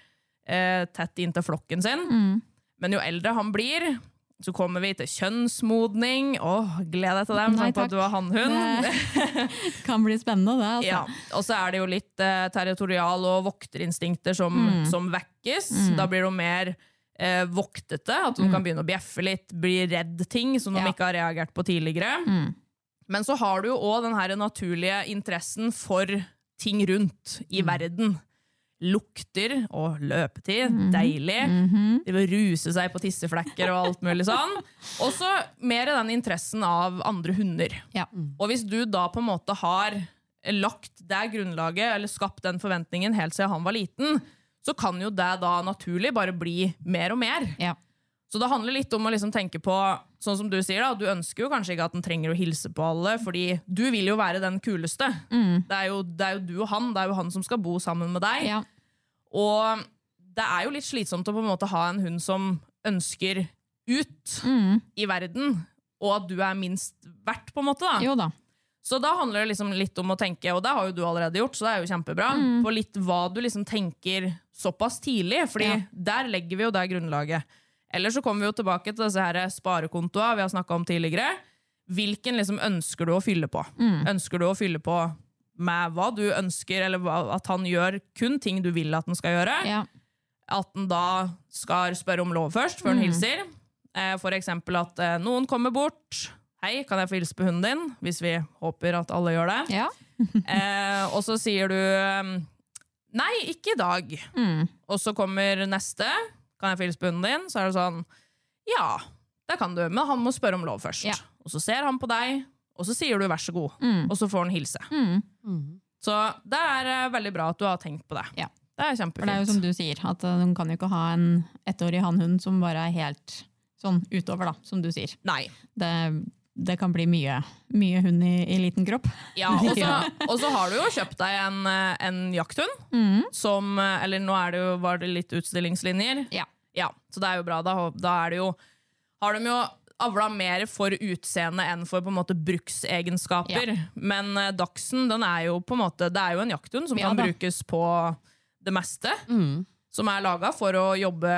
[SPEAKER 2] eh, tett inntil flokken sin.
[SPEAKER 3] Mm.
[SPEAKER 2] Men jo eldre han blir, så kommer vi til kjønnsmodning. Åh, gled deg til dem,
[SPEAKER 3] Nei,
[SPEAKER 2] tenk på at
[SPEAKER 3] takk.
[SPEAKER 2] du har hannhund.
[SPEAKER 3] Det kan bli spennende, det. Altså.
[SPEAKER 2] Ja. Og så er det jo litt eh, territorial og vokterinstinkter som,
[SPEAKER 3] Mm.
[SPEAKER 2] som vekkes. Da blir de mer eh, voktete, at de kan begynne å bjeffe litt, bli redd ting som de
[SPEAKER 3] Mm. Ja. Mm.
[SPEAKER 2] ikke har reagert på tidligere. Men så har du jo òg den her naturlige interessen for ting rundt i
[SPEAKER 3] Mm.
[SPEAKER 2] verden. Lukter og løpetid,
[SPEAKER 3] Mm-hmm.
[SPEAKER 2] deilig. Det vil ruse seg på tisseflekker og alt mulig sånn. Og så mer den interessen av andre hunder.
[SPEAKER 3] Ja.
[SPEAKER 2] Og hvis du da på en måte har lagt det grunnlaget, eller skapt den forventningen helt siden han var liten, så kan jo det da naturlig bare bli mer og mer.
[SPEAKER 3] Ja.
[SPEAKER 2] Så det handler litt om å liksom tenke på, sånn som du sier da, du ønsker jo kanskje ikke at den trenger å hilse på alle, fordi du vil jo være den kuleste. Det, er jo, det er jo du og han, det er jo han som skal bo sammen med deg.
[SPEAKER 3] Mm. Ja.
[SPEAKER 2] Og det er jo litt slitsomt å på en måte ha en hund som ønsker ut
[SPEAKER 3] Mm.
[SPEAKER 2] i verden, og at du er minst verdt, på en måte. da.
[SPEAKER 3] Jo da.
[SPEAKER 2] Så da handler det liksom litt om å tenke, og det har jo du allerede gjort, så det er jo kjempebra,
[SPEAKER 3] Mm.
[SPEAKER 2] på litt hva du liksom tenker såpass tidlig, fordi
[SPEAKER 3] Ja.
[SPEAKER 2] der legger vi jo det grunnlaget. Eller så kommer vi jo tilbake til disse her sparekontoa vi har snakka om tidligere. Hvilken liksom ønsker du å fylle på?
[SPEAKER 3] Mm.
[SPEAKER 2] Ønsker du å fylle på med hva du ønsker, eller hva- at han gjør kun ting du vil at han skal gjøre?
[SPEAKER 3] Ja.
[SPEAKER 2] at den da skal spørre om lov først, før den
[SPEAKER 3] Mm.
[SPEAKER 2] hilser. Eh, for eksempel at eh, noen kommer bort. Hei, kan jeg få hilse på hunden din? Hvis vi håper at alle gjør det.
[SPEAKER 3] Ja.
[SPEAKER 2] Eh, og så sier du eh, Nei, ikke i dag.
[SPEAKER 3] Mm.
[SPEAKER 2] Og så kommer neste. Kan jeg få hilse på hunden din? Så er det sånn Ja, det kan du, men han må spørre om lov først.
[SPEAKER 3] Ja. Mm.
[SPEAKER 2] Og så ser han på deg, og så sier du vær så god. Og så får han hilse. Så det er eh, veldig bra at du har tenkt på det.
[SPEAKER 3] Ja.
[SPEAKER 2] Det er
[SPEAKER 3] For det er jo
[SPEAKER 2] kjempefint.
[SPEAKER 3] som du sier, at eh, hun kan jo ikke ha en ettårig hannhund som bare er helt sånn utover, da, som du sier.
[SPEAKER 2] Nei.
[SPEAKER 3] Det, det kan bli mye, mye hund i, i liten kropp.
[SPEAKER 2] Ja, og så, og så har du jo kjøpt deg en, eh, en jakthund.
[SPEAKER 3] Mm.
[SPEAKER 2] Som, eh, eller nå er det jo, var det litt utstillingslinjer.
[SPEAKER 3] Ja.
[SPEAKER 2] Ja, Så det er jo bra. Da, da er det jo, har de jo avla mer for utseende enn for på en måte bruksegenskaper. Men eh, dachsen den er jo på en måte, det er jo en jakthund som
[SPEAKER 3] Ja
[SPEAKER 2] kan
[SPEAKER 3] da. Mm.
[SPEAKER 2] brukes på det meste. Som er laga for å jobbe,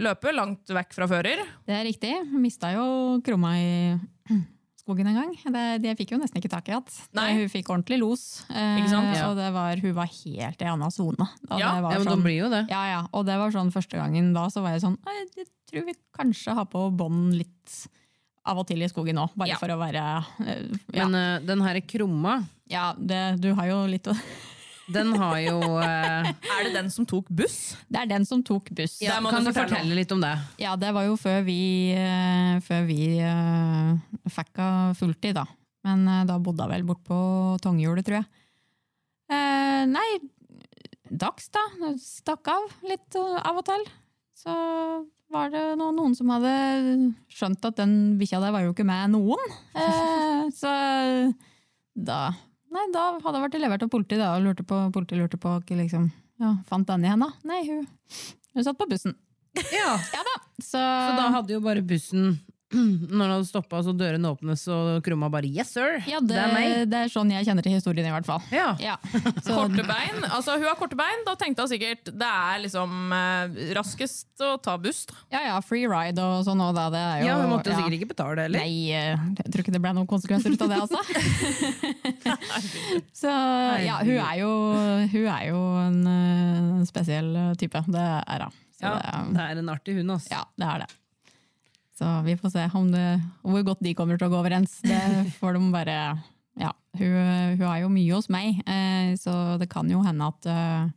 [SPEAKER 2] løpe langt vekk fra fører.
[SPEAKER 3] Det er riktig. Mista jo krumma i skogen en gang. Det, det fikk jo nesten ikke tak i igjen.
[SPEAKER 2] Nei.
[SPEAKER 3] Hun fikk ordentlig los, eh,
[SPEAKER 2] Ikke sant? Ja.
[SPEAKER 3] og det var, hun var helt i anna sone. Og
[SPEAKER 2] Ja,
[SPEAKER 3] det var
[SPEAKER 1] Ja, men
[SPEAKER 3] sånn-
[SPEAKER 1] de blir jo det.
[SPEAKER 3] Ja, ja. Og det var sånn første gangen da, så var jeg sånn «Nei, Jeg tror vi kanskje har på bånd litt av og til i skogen nå, bare
[SPEAKER 2] Ja.
[SPEAKER 3] for å være eh, Ja,
[SPEAKER 1] Men eh, den herre krumma,
[SPEAKER 3] ja det, du har jo litt å
[SPEAKER 1] den har jo eh,
[SPEAKER 2] Er det den som tok buss?
[SPEAKER 3] Det er den som tok buss.
[SPEAKER 2] Ja. Der må
[SPEAKER 1] Kan du
[SPEAKER 2] du fortelle
[SPEAKER 1] fortelle litt om det?
[SPEAKER 3] Ja, det var jo før vi, eh, før vi eh, fikk henne fulltid, da. Men eh, da bodde hun vel bort på Tonghjulet, tror jeg. Eh, nei, dags, da. Stakk av litt eh, av og til. Så var det no- noen som hadde skjønt at den bikkja der var jo ikke med noen. Eh, så da Nei, da hadde hun vært levert av politiet, da, og lurte på, politiet lurte på ikke liksom, ja, Fant den igjen, da? Nei, hun, hun satt på bussen.
[SPEAKER 1] Ja,
[SPEAKER 3] Ja da. Så,
[SPEAKER 1] Så da hadde jo bare bussen Når den hadde stoppa, så dørene åpnes, og krumma bare 'yes, sir'.
[SPEAKER 3] ja, det,
[SPEAKER 1] det er meg.
[SPEAKER 3] det er sånn jeg kjenner til historien, i hvert fall.
[SPEAKER 1] Ja.
[SPEAKER 3] Ja. Så,
[SPEAKER 2] Korte bein. Altså, hun har korte bein. Da tenkte hun sikkert det er liksom eh, raskest å ta buss. Da.
[SPEAKER 3] ja, ja, free ride og sånn òg, da. Det er jo,
[SPEAKER 1] ja, hun måtte
[SPEAKER 3] ja.
[SPEAKER 1] sikkert ikke betale, eller?
[SPEAKER 3] Nei, eh, jeg tror ikke det ble noen konsekvenser ut av det, altså. Så ja, hun er jo, hun er jo en eh, spesiell type. Det er hun. Så
[SPEAKER 1] Ja,
[SPEAKER 3] det,
[SPEAKER 1] det er en artig hund, ass.
[SPEAKER 3] ja, det er det. Så vi får se om det, hvor godt de kommer til å gå overens. Det får de bare Ja, hun, hun er jo mye hos meg, eh, så det kan jo hende at eh,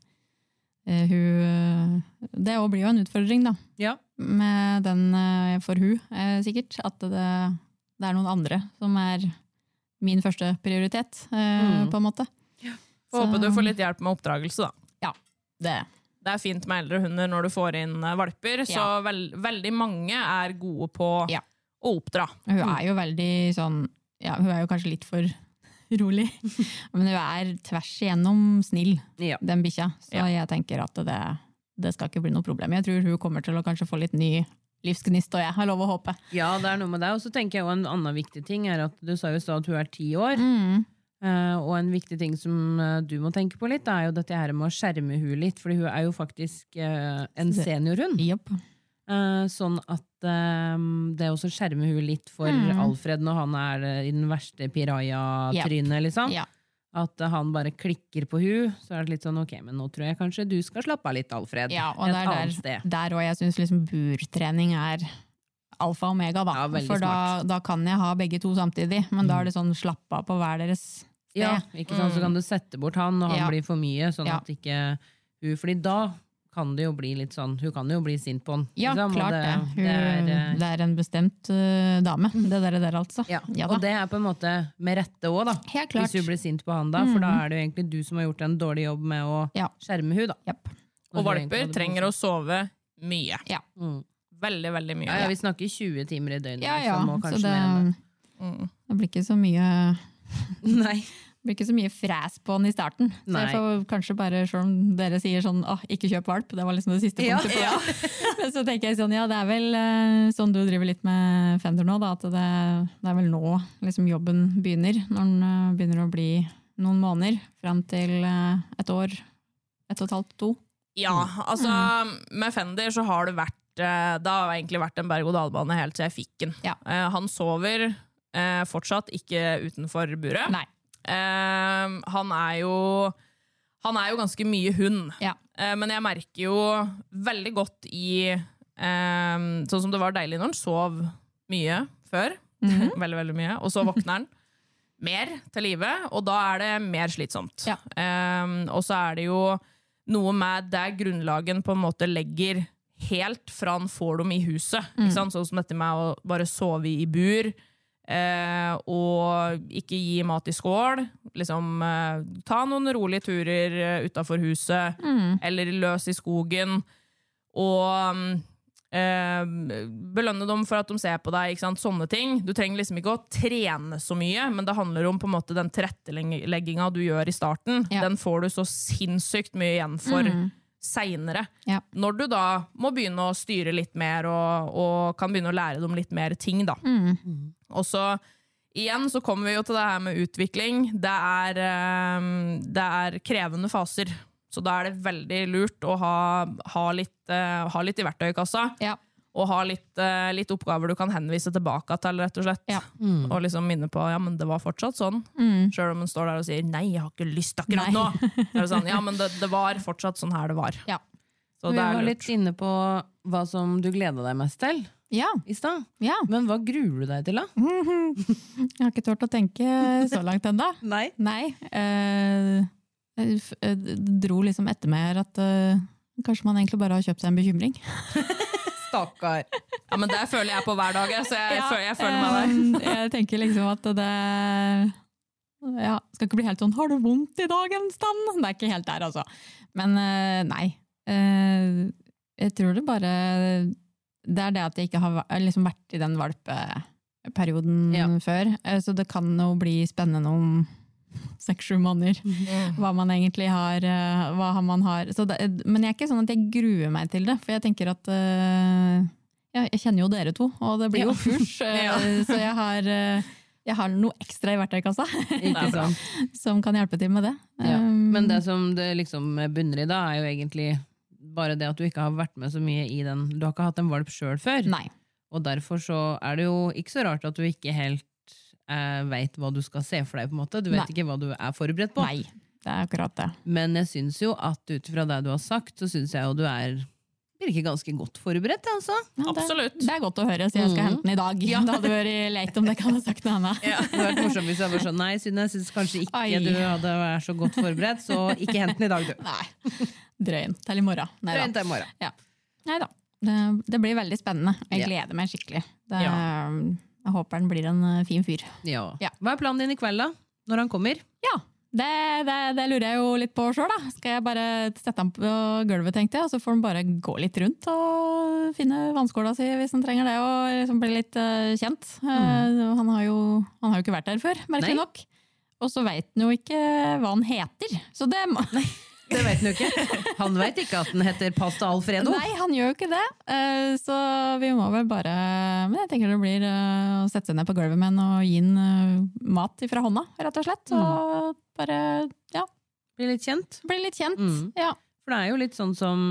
[SPEAKER 3] hun Det òg blir jo en utfordring, da
[SPEAKER 1] Ja.
[SPEAKER 3] med den eh, for hun, eh, sikkert. At det, det er noen andre som er min første prioritet, eh, på en måte.
[SPEAKER 2] Får
[SPEAKER 3] Så-
[SPEAKER 2] Håpe du får litt hjelp med oppdragelse, da.
[SPEAKER 3] Det.
[SPEAKER 2] Det er fint med eldre hunder når du får inn eh, valper, så
[SPEAKER 3] Ja.
[SPEAKER 2] vel, veldig mange er gode på
[SPEAKER 3] Ja.
[SPEAKER 2] å oppdra. Mm.
[SPEAKER 3] Hun
[SPEAKER 1] Mm.
[SPEAKER 3] er jo veldig sånn ja, Hun er jo kanskje litt for rolig, men hun er tvers igjennom snill,
[SPEAKER 1] Ja.
[SPEAKER 3] den bikkja. Så
[SPEAKER 2] Ja.
[SPEAKER 3] jeg tenker at det, det skal ikke bli noe problem. Jeg tror hun kommer til å kanskje få litt ny livsgnist, og jeg har lov å håpe.
[SPEAKER 1] ja, det er noe med deg. Og så tenker jeg jo en annen viktig ting er at du sa jo i stad at hun er ti år. Eh, og en viktig ting som eh, du må tenke på litt, er jo dette her med å skjerme hun litt. Fordi hun er jo faktisk eh, en
[SPEAKER 3] Det-
[SPEAKER 1] seniorhund.
[SPEAKER 3] Jopp.
[SPEAKER 1] Eh, sånn at eh, det også skjermer hun litt for
[SPEAKER 3] Mm.
[SPEAKER 1] Alfred når han er eh, i den verste piraja-trynet, liksom.
[SPEAKER 3] Ja.
[SPEAKER 1] At eh, han bare klikker på hun, så er det litt sånn ok, men nå tror jeg kanskje du skal slappe av litt, Alfred.
[SPEAKER 3] Ja, og
[SPEAKER 1] Et
[SPEAKER 3] det
[SPEAKER 1] annet
[SPEAKER 3] er der,
[SPEAKER 1] sted.
[SPEAKER 3] der også jeg syns liksom burtrening er alfa og omega, da.
[SPEAKER 1] Ja, veldig Mm.
[SPEAKER 3] For da, da kan jeg ha begge to samtidig, men da er det sånn slapp av på hver deres sted.
[SPEAKER 1] Ja, Mm. ikke sant? Så kan du sette bort han når han
[SPEAKER 3] Ja.
[SPEAKER 1] blir for mye, sånn
[SPEAKER 3] Ja.
[SPEAKER 1] at ikke hun Fordi da kan det jo bli litt sånn Hun kan jo bli sint på han.
[SPEAKER 3] Ja,
[SPEAKER 1] liksom, og
[SPEAKER 3] klart det. Hun,
[SPEAKER 1] det er, eh, Mm.
[SPEAKER 3] det er en bestemt eh, dame, det der, der altså.
[SPEAKER 1] Ja,
[SPEAKER 3] da.
[SPEAKER 1] Og det er på en måte med rette òg, da.
[SPEAKER 3] Helt klart.
[SPEAKER 1] Hvis du blir sint på han da, for da er det jo egentlig du som har gjort en dårlig jobb med å
[SPEAKER 3] Ja.
[SPEAKER 1] skjerme hun da.
[SPEAKER 3] Japp.
[SPEAKER 2] Og valper trenger å sove mye.
[SPEAKER 3] Ja.
[SPEAKER 1] Mm.
[SPEAKER 2] Veldig, veldig mye.
[SPEAKER 1] ja, ja, Vi snakker 20 timer i døgnet,
[SPEAKER 3] ja, ja.
[SPEAKER 1] så må
[SPEAKER 3] Så
[SPEAKER 1] kanskje
[SPEAKER 3] det,
[SPEAKER 1] med henne.
[SPEAKER 2] Mm.
[SPEAKER 3] det blir ikke så mye
[SPEAKER 1] Nei.
[SPEAKER 3] det blir ikke så mye fræs på den i starten. Så
[SPEAKER 1] Nei.
[SPEAKER 3] jeg får kanskje bare, selv om dere sier sånn åh, ikke kjøp valp, det var liksom det siste
[SPEAKER 1] Ja,
[SPEAKER 3] punktet på det. Men så tenker jeg sånn, ja det er vel eh, sånn du driver litt med Fender nå, da, at det, det er vel nå liksom jobben begynner, når den eh, begynner å bli noen måneder, frem til eh, et år, et og et halvt, to.
[SPEAKER 2] Ja, altså, med Fender så har det vært eh, Det har egentlig vært en berg-og-dal-bane helt til jeg fikk den.
[SPEAKER 3] Ja.
[SPEAKER 2] Eh, Han sover eh, fortsatt ikke utenfor buret.
[SPEAKER 3] Nei.
[SPEAKER 2] Eh, han er jo Han er jo ganske mye hund.
[SPEAKER 3] Ja.
[SPEAKER 2] Eh, men jeg merker jo veldig godt i eh, Sånn som det var deilig når han sov mye før. veldig, veldig mye. Og så våkner han mer til live, og da er det mer slitsomt.
[SPEAKER 3] Ja.
[SPEAKER 2] Eh, og så er det jo noe med der grunnlagen på en måte legger helt fra han får dem i huset. Ikke sant? Sånn som dette med å bare sove i bur, eh, og ikke gi mat i skål. Liksom, eh, ta noen rolige turer eh, utafor huset,
[SPEAKER 3] Mm.
[SPEAKER 2] eller løs i skogen. Og mm, eh, belønne dem for at de ser på deg. Ikke sant? Sånne ting. Du trenger liksom ikke å trene så mye, men det handler om på en måte den tilrettelegginga du gjør i starten.
[SPEAKER 3] Ja. Mm.
[SPEAKER 2] Den får du så sinnssykt mye igjen for seinere.
[SPEAKER 3] Ja.
[SPEAKER 2] Når du da må begynne å styre litt mer og, og kan begynne å lære dem litt mer ting, da.
[SPEAKER 3] Mm.
[SPEAKER 2] Og så igjen så kommer vi jo til det her med utvikling. Det er, eh, det er krevende faser. Så da er det veldig lurt å ha, ha, litt, eh, ha litt i verktøykassa.
[SPEAKER 3] Ja.
[SPEAKER 2] Og ha litt, eh, litt oppgaver du kan henvise tilbake til, rett og slett.
[SPEAKER 3] Ja.
[SPEAKER 2] Og liksom minne på ja, men det var fortsatt sånn.
[SPEAKER 3] Mm.
[SPEAKER 2] Sjøl om en står der og sier 'nei, jeg har ikke lyst akkurat
[SPEAKER 3] Nei.
[SPEAKER 2] nå'. Så er det sånn, ja, men det, det var fortsatt sånn her det var.
[SPEAKER 3] Ja.
[SPEAKER 2] Så
[SPEAKER 1] Vi
[SPEAKER 2] det er
[SPEAKER 1] var
[SPEAKER 2] lurt.
[SPEAKER 1] litt inne på hva som du gleda deg mest til
[SPEAKER 3] Ja,
[SPEAKER 1] i stad.
[SPEAKER 3] ja.
[SPEAKER 1] Men hva gruer du deg til, da?
[SPEAKER 3] Jeg har ikke tort å tenke så langt ennå.
[SPEAKER 1] Nei.
[SPEAKER 3] Nei. eh, jeg f- eh, dro liksom etter meg her at eh, kanskje man egentlig bare har kjøpt seg en bekymring.
[SPEAKER 1] Stakkar.
[SPEAKER 2] Ja, men det føler jeg på hver dag, jeg, så jeg, føler, jeg føler meg der.
[SPEAKER 3] Eh, jeg tenker liksom at det ja, Skal ikke bli helt sånn 'har du vondt i dag en stand?' Det er ikke helt der, altså. Men eh, nei. Eh, jeg tror det bare Det er det at jeg ikke har væ- liksom vært i den valpeperioden
[SPEAKER 1] Ja.
[SPEAKER 3] før. Eh, så det kan jo bli spennende om seks-sju måneder.
[SPEAKER 2] Mm,
[SPEAKER 3] Hva man egentlig har, eh, hva har man har. Så det, men jeg er ikke sånn at jeg gruer meg til det, for jeg tenker at eh, ja, Jeg kjenner jo dere to, og det blir jo kurs, eh,
[SPEAKER 2] Ja.
[SPEAKER 3] så jeg har, eh, jeg har noe ekstra i verktøykassa
[SPEAKER 1] Ikke sant?
[SPEAKER 3] som kan hjelpe til med det.
[SPEAKER 1] Ja.
[SPEAKER 3] Um,
[SPEAKER 1] Men det som det liksom bunner i da, er jo egentlig bare det at du ikke har vært med så mye i den. Du har ikke hatt en valp sjøl før,
[SPEAKER 3] Um, Nei.
[SPEAKER 1] og derfor så er det jo ikke så rart at du ikke helt eh, veit hva du skal se for deg, på en måte. Du vet
[SPEAKER 3] Nei.
[SPEAKER 1] ikke hva du er forberedt på.
[SPEAKER 3] Nei. Det er akkurat det.
[SPEAKER 1] Men jeg syns jo at ut fra det du har sagt, så syns jeg jo du er virker ganske godt forberedt, altså.
[SPEAKER 3] Ja,
[SPEAKER 2] Absolutt.
[SPEAKER 3] Det, det er godt å høre, så jeg skal
[SPEAKER 1] Mhm.
[SPEAKER 3] hente den i dag. Det hadde vært leit om det kan ha sagt noe annet.
[SPEAKER 1] Det hadde vært morsomt hvis jeg var sånn Nei, Synne, jeg syns kanskje ikke
[SPEAKER 3] Ai.
[SPEAKER 1] du hadde vært så godt forberedt, så ikke hent den i dag, du.
[SPEAKER 3] Nei. Drøyen. Til i morgen. Nei da.
[SPEAKER 1] Vent til i morgen.
[SPEAKER 3] Ja. Neida. Det, det blir veldig spennende. Jeg gleder meg skikkelig. Det, Jeg håper han blir en eh, fin fyr.
[SPEAKER 1] Ja.
[SPEAKER 3] Ja.
[SPEAKER 1] Hva er planen din i kveld, da? Når han kommer?
[SPEAKER 3] Ja, det, det, det lurer jeg jo litt på sjøl, da. Skal jeg bare sette han på gulvet, tenkte jeg, og så får han bare gå litt rundt og finne vannskåla si hvis han trenger det, og liksom bli litt eh, kjent. Eh, han, har jo, han har jo ikke vært der før, merkelig
[SPEAKER 1] Mm. Nei.
[SPEAKER 3] nok. Og så veit han jo ikke hva han heter, så det må
[SPEAKER 1] Det vet han jo ikke. Han veit ikke at den heter Pasta Alfredo.
[SPEAKER 3] Nei, han gjør jo ikke det. Eh, Så vi må vel bare Men jeg tenker det blir eh, å sette seg ned på gulvet med han og gi han eh, mat ifra hånda, rett og slett.
[SPEAKER 1] Mm.
[SPEAKER 3] Og bare ja,
[SPEAKER 1] Blir litt kjent.
[SPEAKER 3] bli litt kjent.
[SPEAKER 1] Mm.
[SPEAKER 3] Ja.
[SPEAKER 1] For det er jo litt sånn som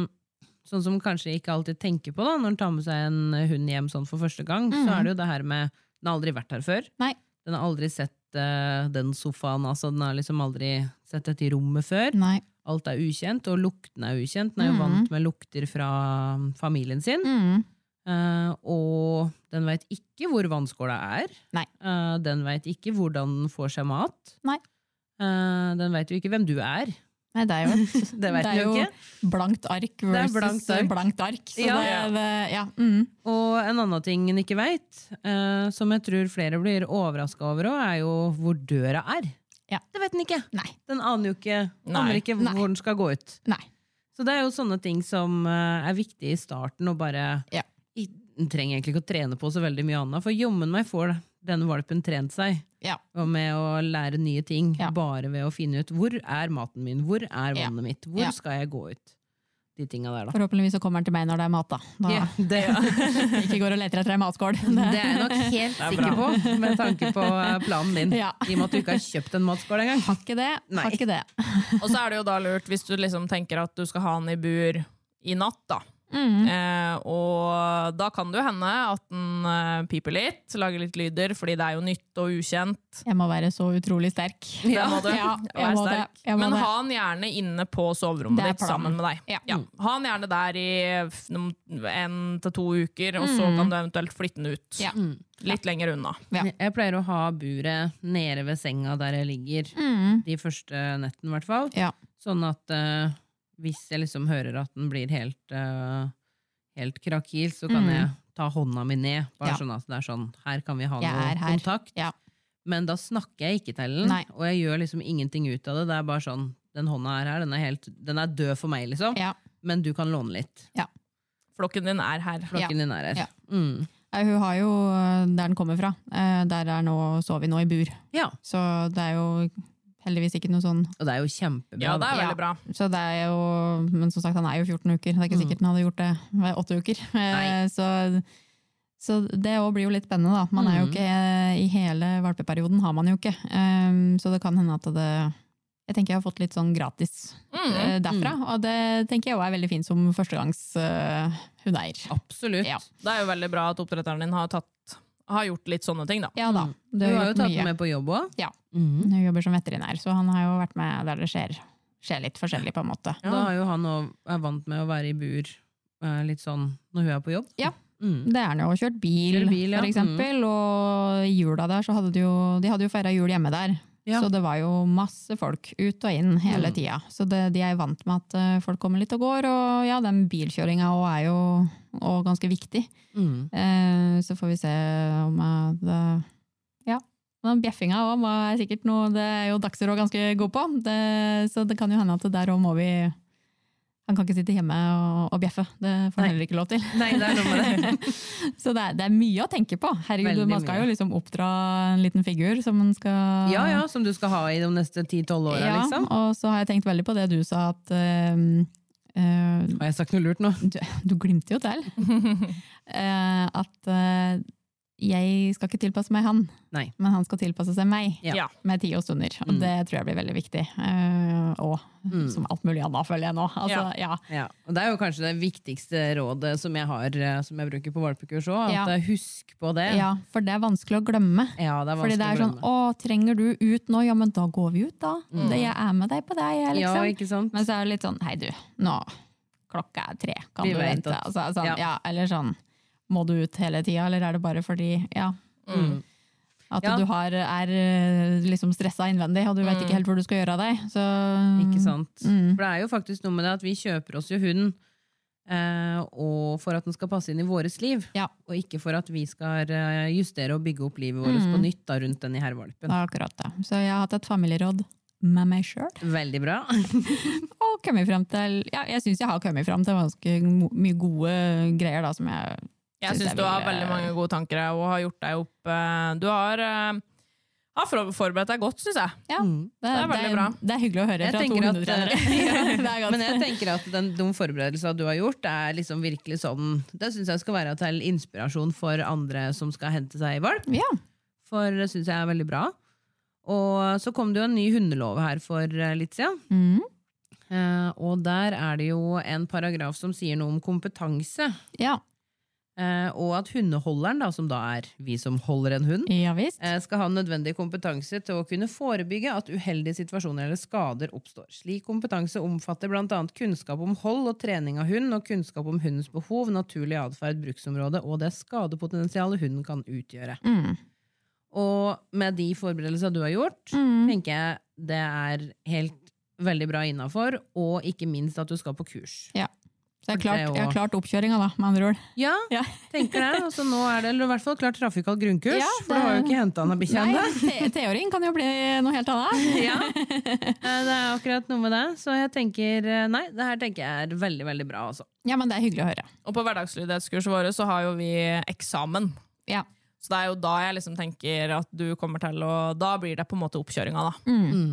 [SPEAKER 1] Sånn som kanskje ikke alltid tenker på da når en tar med seg en hund hjem sånn for første gang. Så er det jo det her med Den har aldri vært her før.
[SPEAKER 3] Mhm. Nei.
[SPEAKER 1] Den har aldri sett eh, den sofaen. altså Den har liksom aldri sett dette rommet før.
[SPEAKER 3] Nei.
[SPEAKER 1] Alt er ukjent, og lukten er
[SPEAKER 3] Mhm.
[SPEAKER 1] ukjent. Den er jo vant med lukter fra um, familien sin.
[SPEAKER 3] Mm.
[SPEAKER 1] Eh, og den veit ikke hvor vannskåla er.
[SPEAKER 3] Nei.
[SPEAKER 1] Eh, den veit ikke hvordan den får seg mat.
[SPEAKER 3] Nei.
[SPEAKER 1] Eh, den veit jo ikke hvem du er.
[SPEAKER 3] Nei, det er jo, et,
[SPEAKER 1] Det vet
[SPEAKER 3] det er
[SPEAKER 1] den jo
[SPEAKER 3] jo
[SPEAKER 1] ikke.
[SPEAKER 3] blankt ark
[SPEAKER 1] er
[SPEAKER 3] versus
[SPEAKER 1] blankt
[SPEAKER 3] blankt
[SPEAKER 1] ark.
[SPEAKER 3] ark. Blankt ark så
[SPEAKER 1] Ja.
[SPEAKER 3] det, det, ja. Mm.
[SPEAKER 1] Og en annen ting en ikke veit, eh, som jeg tror flere blir overraska over òg, er jo hvor døra er.
[SPEAKER 3] Ja.
[SPEAKER 1] Det vet den ikke!
[SPEAKER 3] Nei.
[SPEAKER 1] Den aner jo ikke,
[SPEAKER 2] Nei.
[SPEAKER 1] aner ikke
[SPEAKER 3] Nei.
[SPEAKER 1] hvor den skal gå ut.
[SPEAKER 3] Nei.
[SPEAKER 1] Så det er jo sånne ting som eh, er viktig i starten, og bare
[SPEAKER 3] Ja.
[SPEAKER 1] I- Den trenger egentlig ikke å trene på så veldig mye annet, for jommen meg får den valpen trent seg.
[SPEAKER 3] Ja.
[SPEAKER 1] Og med å lære nye ting,
[SPEAKER 3] Ja.
[SPEAKER 1] bare ved å finne ut hvor er maten min, hvor er
[SPEAKER 3] Ja.
[SPEAKER 1] vannet mitt, hvor
[SPEAKER 3] Ja.
[SPEAKER 1] skal jeg gå ut? De tinga der, da.
[SPEAKER 3] Forhåpentligvis så kommer den til meg når det er mat, da. da
[SPEAKER 1] Ja, det,
[SPEAKER 3] Ikke går og leter etter ei matskål.
[SPEAKER 1] Det er jeg nok helt sikker på, med tanke på eh, planen din.
[SPEAKER 3] Ja.
[SPEAKER 1] I og med at du ikke har kjøpt en matskål engang.
[SPEAKER 3] Har ikke det.
[SPEAKER 1] Nei.
[SPEAKER 3] Har ikke det.
[SPEAKER 2] Og så er det jo da lurt, hvis du liksom tenker at du skal ha han i bur i natt, da.
[SPEAKER 3] Mm.
[SPEAKER 2] Eh, og da kan det jo hende at den eh, piper litt, lager litt lyder, fordi det er jo nytt og ukjent.
[SPEAKER 3] Jeg må være så utrolig sterk.
[SPEAKER 2] Det må du.
[SPEAKER 3] Ja, jeg
[SPEAKER 2] Vær
[SPEAKER 3] må det.
[SPEAKER 2] sterk.
[SPEAKER 3] Jeg må
[SPEAKER 2] Men
[SPEAKER 3] det.
[SPEAKER 2] ha han gjerne inne på
[SPEAKER 3] Det
[SPEAKER 2] soverommet
[SPEAKER 3] er
[SPEAKER 2] ditt
[SPEAKER 3] planen.
[SPEAKER 2] sammen med deg.
[SPEAKER 3] Ja.
[SPEAKER 2] Ha han gjerne der i f- noen- en til to uker, og så kan du eventuelt flytte den ut.
[SPEAKER 3] Mm. Ja.
[SPEAKER 2] Litt lenger unna.
[SPEAKER 3] Ja.
[SPEAKER 1] Jeg pleier å ha buret
[SPEAKER 3] Mm.
[SPEAKER 1] nede ved senga der jeg ligger, de første nettene i hvert fall.
[SPEAKER 3] Ja.
[SPEAKER 1] Sånn at eh, hvis jeg liksom hører at den blir helt, eh, helt krakil, så kan
[SPEAKER 3] Mm.
[SPEAKER 1] jeg ta hånda mi ned. Bare
[SPEAKER 3] Ja.
[SPEAKER 1] sånn at det er sånn, her kan vi ha
[SPEAKER 3] Jeg er
[SPEAKER 1] noe
[SPEAKER 3] her.
[SPEAKER 1] kontakt.
[SPEAKER 3] Ja.
[SPEAKER 1] Men da snakker jeg ikke til den,
[SPEAKER 3] Nei.
[SPEAKER 1] og jeg gjør liksom ingenting ut av det. Det er bare sånn, den hånda er her, den er, helt, den er død for meg, liksom.
[SPEAKER 3] Ja.
[SPEAKER 1] Men du kan låne litt.
[SPEAKER 2] Flokken din er her.
[SPEAKER 3] Ja.
[SPEAKER 1] Flokken din er her.
[SPEAKER 3] Ja.
[SPEAKER 1] Mm.
[SPEAKER 3] Nei, Hun har jo eh, der den kommer fra. Eh, Der er nå, sover vi nå i bur.
[SPEAKER 1] ja.
[SPEAKER 3] Så det er jo heldigvis ikke noe sånn
[SPEAKER 1] Og det er jo kjempebra.
[SPEAKER 2] Ja, det
[SPEAKER 1] da.
[SPEAKER 2] er veldig bra.
[SPEAKER 3] så det er jo, Men som sagt, han er jo 14 uker. Det er ikke sikkert han hadde gjort det ved åtte uker. Eh,
[SPEAKER 1] Mm. Nei.
[SPEAKER 3] Så, så det òg blir jo litt spennende, da. Man er jo
[SPEAKER 1] Mhm.
[SPEAKER 3] ikke eh, I hele valpeperioden har man jo ikke. Ehm, Så det kan hende at det Jeg tenker jeg har fått litt sånn gratis
[SPEAKER 1] Mm.
[SPEAKER 3] eh, derfra. Og det tenker jeg òg er veldig fint som førstegangs eh, hundeeier.
[SPEAKER 1] Absolutt.
[SPEAKER 3] Ja.
[SPEAKER 2] Det er jo veldig bra at oppdretteren din har, tatt, har gjort litt sånne ting, da.
[SPEAKER 3] Ja da.
[SPEAKER 1] Mm. Du
[SPEAKER 3] Det
[SPEAKER 1] har jo
[SPEAKER 3] gjort
[SPEAKER 1] tatt
[SPEAKER 3] mye.
[SPEAKER 1] den med på jobb Mm. òg.
[SPEAKER 3] Ja. Hun jobber som veterinær, så han har jo vært med der det skjer, skjer litt forskjellig, på en måte.
[SPEAKER 1] Da har jo han òg er vant med å være i bur eh, litt sånn når hun er på jobb.
[SPEAKER 3] Ja.
[SPEAKER 1] Mm.
[SPEAKER 3] Det er han jo og kjørt bil,
[SPEAKER 1] Kjører bil, ja. Mm.
[SPEAKER 3] for eksempel, og i jula der så hadde de jo, de hadde jo feira jul hjemme der.
[SPEAKER 1] Ja.
[SPEAKER 3] Så det var jo masse folk ut og inn hele
[SPEAKER 1] Mm.
[SPEAKER 3] tida. Så det, de er vant med at eh, folk kommer litt og går, og ja, den bilkjøringa òg er jo og ganske viktig.
[SPEAKER 1] Mm.
[SPEAKER 3] Eh, så får vi se om jeg det, Ja. Men bjeffinga òg er sikkert noe Det er jo Dagsrevyen ganske god på, det, så det kan jo hende at der òg må vi Han kan ikke sitte hjemme og, og bjeffe. Det får
[SPEAKER 1] Nei.
[SPEAKER 3] han heller ikke lov til.
[SPEAKER 1] Nei, det er noe med det.
[SPEAKER 3] Så det er, det er mye å tenke på. Herregud,
[SPEAKER 1] Veldig
[SPEAKER 3] Man skal jo liksom oppdra en liten figur som man skal
[SPEAKER 1] Ja, ja, som du skal ha i de neste 10-12 åra,
[SPEAKER 3] Ja,
[SPEAKER 1] liksom.
[SPEAKER 3] Og så har jeg tenkt veldig på det du sa, at øhm, øh,
[SPEAKER 1] Har jeg sagt noe lurt nå?
[SPEAKER 3] du, du glimter jo til. Eh, at eh, jeg skal ikke tilpasse meg han,
[SPEAKER 1] Nei.
[SPEAKER 3] men han skal tilpasse seg meg.
[SPEAKER 1] Ja.
[SPEAKER 2] Ja.
[SPEAKER 3] Med tid og stunder. Og
[SPEAKER 1] Mm.
[SPEAKER 3] det tror jeg blir veldig viktig. Eh, og
[SPEAKER 1] Mm.
[SPEAKER 3] som alt mulig annet, føler jeg nå. Altså,
[SPEAKER 2] Ja.
[SPEAKER 3] ja.
[SPEAKER 1] Ja, og Det er jo kanskje det viktigste rådet som jeg har eh, Som jeg bruker på valpekurs òg.
[SPEAKER 3] Ja.
[SPEAKER 1] Husk på det.
[SPEAKER 3] Ja. for det er vanskelig å glemme.
[SPEAKER 1] Ja, det er
[SPEAKER 3] Fordi det er
[SPEAKER 1] vanskelig å
[SPEAKER 3] sånn,
[SPEAKER 1] glemme. Mm.
[SPEAKER 3] å, trenger du ut nå? Ja, men da går vi ut, da. Det, jeg er med deg på det, jeg,
[SPEAKER 1] Ja,
[SPEAKER 3] liksom.
[SPEAKER 1] ikke sant?
[SPEAKER 3] Men så er det litt sånn, hei du, nå, klokka er tre, kan
[SPEAKER 1] Vi
[SPEAKER 3] du
[SPEAKER 1] vet
[SPEAKER 3] vente?
[SPEAKER 1] at-
[SPEAKER 3] Altså, sånn,
[SPEAKER 1] ja.
[SPEAKER 3] ja. eller sånn, må du ut hele tida, eller er det bare fordi, ja. At
[SPEAKER 1] Mm. Ja. Mm.
[SPEAKER 3] du har, er eh, liksom stressa innvendig, og du vet ikke helt hvor du skal gjøre av deg. Så,
[SPEAKER 1] Ikke sant?
[SPEAKER 3] Mm.
[SPEAKER 1] For det er jo faktisk noe med det at vi kjøper oss jo hund eh, og for at den skal passe inn i vårt liv,
[SPEAKER 3] Ja.
[SPEAKER 1] og ikke for at vi skal eh, justere og bygge opp livet vårt
[SPEAKER 3] Mm.
[SPEAKER 1] på nytt da, rundt den i
[SPEAKER 3] Det
[SPEAKER 1] herrevalpen.
[SPEAKER 3] er akkurat det. Så jeg har hatt et familieråd med meg sjøl.
[SPEAKER 1] Veldig bra.
[SPEAKER 3] Og kommet frem til ja, Jeg syns jeg har kommet frem til ganske mo- mye gode greier da, som jeg
[SPEAKER 2] Jeg
[SPEAKER 3] Synes
[SPEAKER 2] syns
[SPEAKER 3] jeg
[SPEAKER 2] du har
[SPEAKER 3] vil, eh,
[SPEAKER 2] veldig mange gode tanker og har gjort deg opp. eh, Du har, eh, har for- forberedt deg godt, syns jeg.
[SPEAKER 3] Ja,
[SPEAKER 1] Mm.
[SPEAKER 3] det,
[SPEAKER 2] er veldig bra.
[SPEAKER 3] Det er hyggelig å høre
[SPEAKER 1] Jeg
[SPEAKER 3] fra
[SPEAKER 1] tenker at,
[SPEAKER 3] 200
[SPEAKER 1] eh,
[SPEAKER 3] trenere. det er godt.
[SPEAKER 1] Men jeg tenker at den, de forberedelsene du har gjort, er liksom virkelig sånn Det syns jeg skal være til inspirasjon for andre som skal hente seg valp.
[SPEAKER 3] ja.
[SPEAKER 1] for det syns jeg er veldig bra. Og så kom det jo en ny hundelov her for eh, litt siden.
[SPEAKER 3] Mhm.
[SPEAKER 1] Eh, og der er det jo en paragraf som sier noe om kompetanse.
[SPEAKER 3] ja.
[SPEAKER 1] eh, og at hundeholderen, da, som da er vi som holder en hund,
[SPEAKER 3] Ja visst.
[SPEAKER 1] eh, skal ha nødvendig kompetanse til å kunne forebygge at uheldige situasjoner eller skader oppstår. Slik kompetanse omfatter bl.a. kunnskap om hold og trening av hund, og kunnskap om hundens behov, naturlig atferd, bruksområde og det skadepotensialet hunden kan utgjøre.
[SPEAKER 3] Mm.
[SPEAKER 1] Og med de forberedelsene du har gjort,
[SPEAKER 3] Mm.
[SPEAKER 1] tenker jeg det er helt veldig bra innafor, og ikke minst at du skal på kurs.
[SPEAKER 3] Så jeg har klart,
[SPEAKER 1] det er jo-
[SPEAKER 3] jeg har klart oppkjøringa, da, med andre ord.
[SPEAKER 1] Ja,
[SPEAKER 3] Ja.
[SPEAKER 1] tenker det. Altså, nå er det eller i hvert fall klart trafikalt grunnkurs,
[SPEAKER 3] Ja,
[SPEAKER 1] for du har jo
[SPEAKER 3] det-
[SPEAKER 1] ikke henta han av bikkja
[SPEAKER 3] Nei,
[SPEAKER 1] ennå.
[SPEAKER 3] te- Teoring kan jo bli noe helt annet.
[SPEAKER 1] Ja. Eh, Det er akkurat noe med det. Så jeg tenker eh, Nei, det her tenker jeg er veldig, veldig bra, altså.
[SPEAKER 3] Ja, men det er hyggelig å høre.
[SPEAKER 2] Og på hverdagslydighetskurset våre så har jo vi eksamen.
[SPEAKER 3] Ja.
[SPEAKER 2] Så det er jo da jeg liksom tenker at du kommer til å Da blir det på en måte oppkjøringa,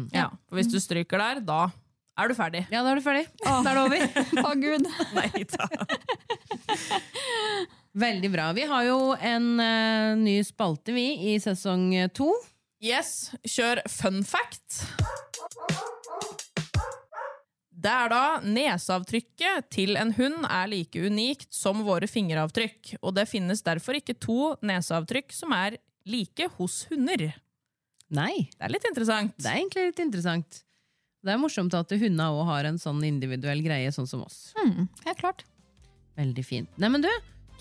[SPEAKER 2] da. Ja. For hvis du stryker der, da er du ferdig.
[SPEAKER 1] Ja, da er du ferdig. Da er det over.
[SPEAKER 3] Å gud!
[SPEAKER 2] Nei da.
[SPEAKER 1] Veldig bra. Vi har jo en eh, ny spalte, vi, i sesong eh, to.
[SPEAKER 2] Yes, kjør fun fact. Det er da neseavtrykket til en hund er like unikt som våre fingeravtrykk, og det finnes derfor ikke to neseavtrykk som er like hos hunder. Det
[SPEAKER 1] Nei.
[SPEAKER 2] er litt interessant.
[SPEAKER 1] Det er egentlig litt interessant. Det er morsomt at hundene òg har en sånn individuell greie, sånn som oss.
[SPEAKER 3] Mm, helt klart.
[SPEAKER 1] Veldig fint. Nei, men du,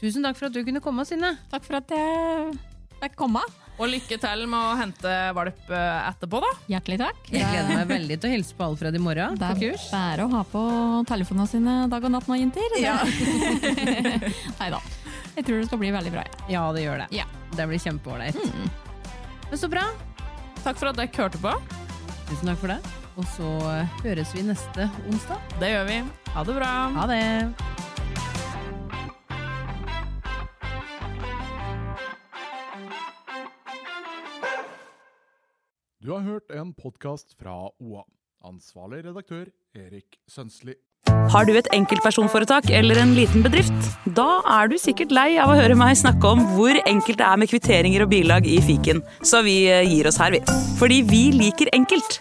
[SPEAKER 1] tusen takk for at du kunne komme, Synne.
[SPEAKER 3] Takk for at jeg fikk komme.
[SPEAKER 2] Og lykke til med å hente valp eh, etterpå, da.
[SPEAKER 3] Hjertelig takk.
[SPEAKER 1] Jeg gleder meg veldig til å hilse på Alfred i morgen.
[SPEAKER 3] Det er bare å ha på telefonene sine dag og natt nå, jenter. Nei da. Jeg tror det skal bli veldig bra. Ja.
[SPEAKER 1] Ja, det gjør det.
[SPEAKER 3] Ja.
[SPEAKER 1] Det blir kjempeålreit. Men så bra.
[SPEAKER 2] Mm. Takk for at dere hørte på.
[SPEAKER 1] Tusen takk for det. Og så eh, høres vi neste onsdag.
[SPEAKER 2] Det gjør vi. Ha det bra.
[SPEAKER 1] Ha det!
[SPEAKER 5] Du har hørt en podkast fra OA. Ansvarlig redaktør Erik Sønsli.
[SPEAKER 6] Har du et enkeltpersonforetak eller en liten bedrift? Da er du sikkert lei av å høre meg snakke om hvor enkelt det er med kvitteringer og bilag i fiken, så vi eh, gir oss her, vi. Fordi vi liker enkelt.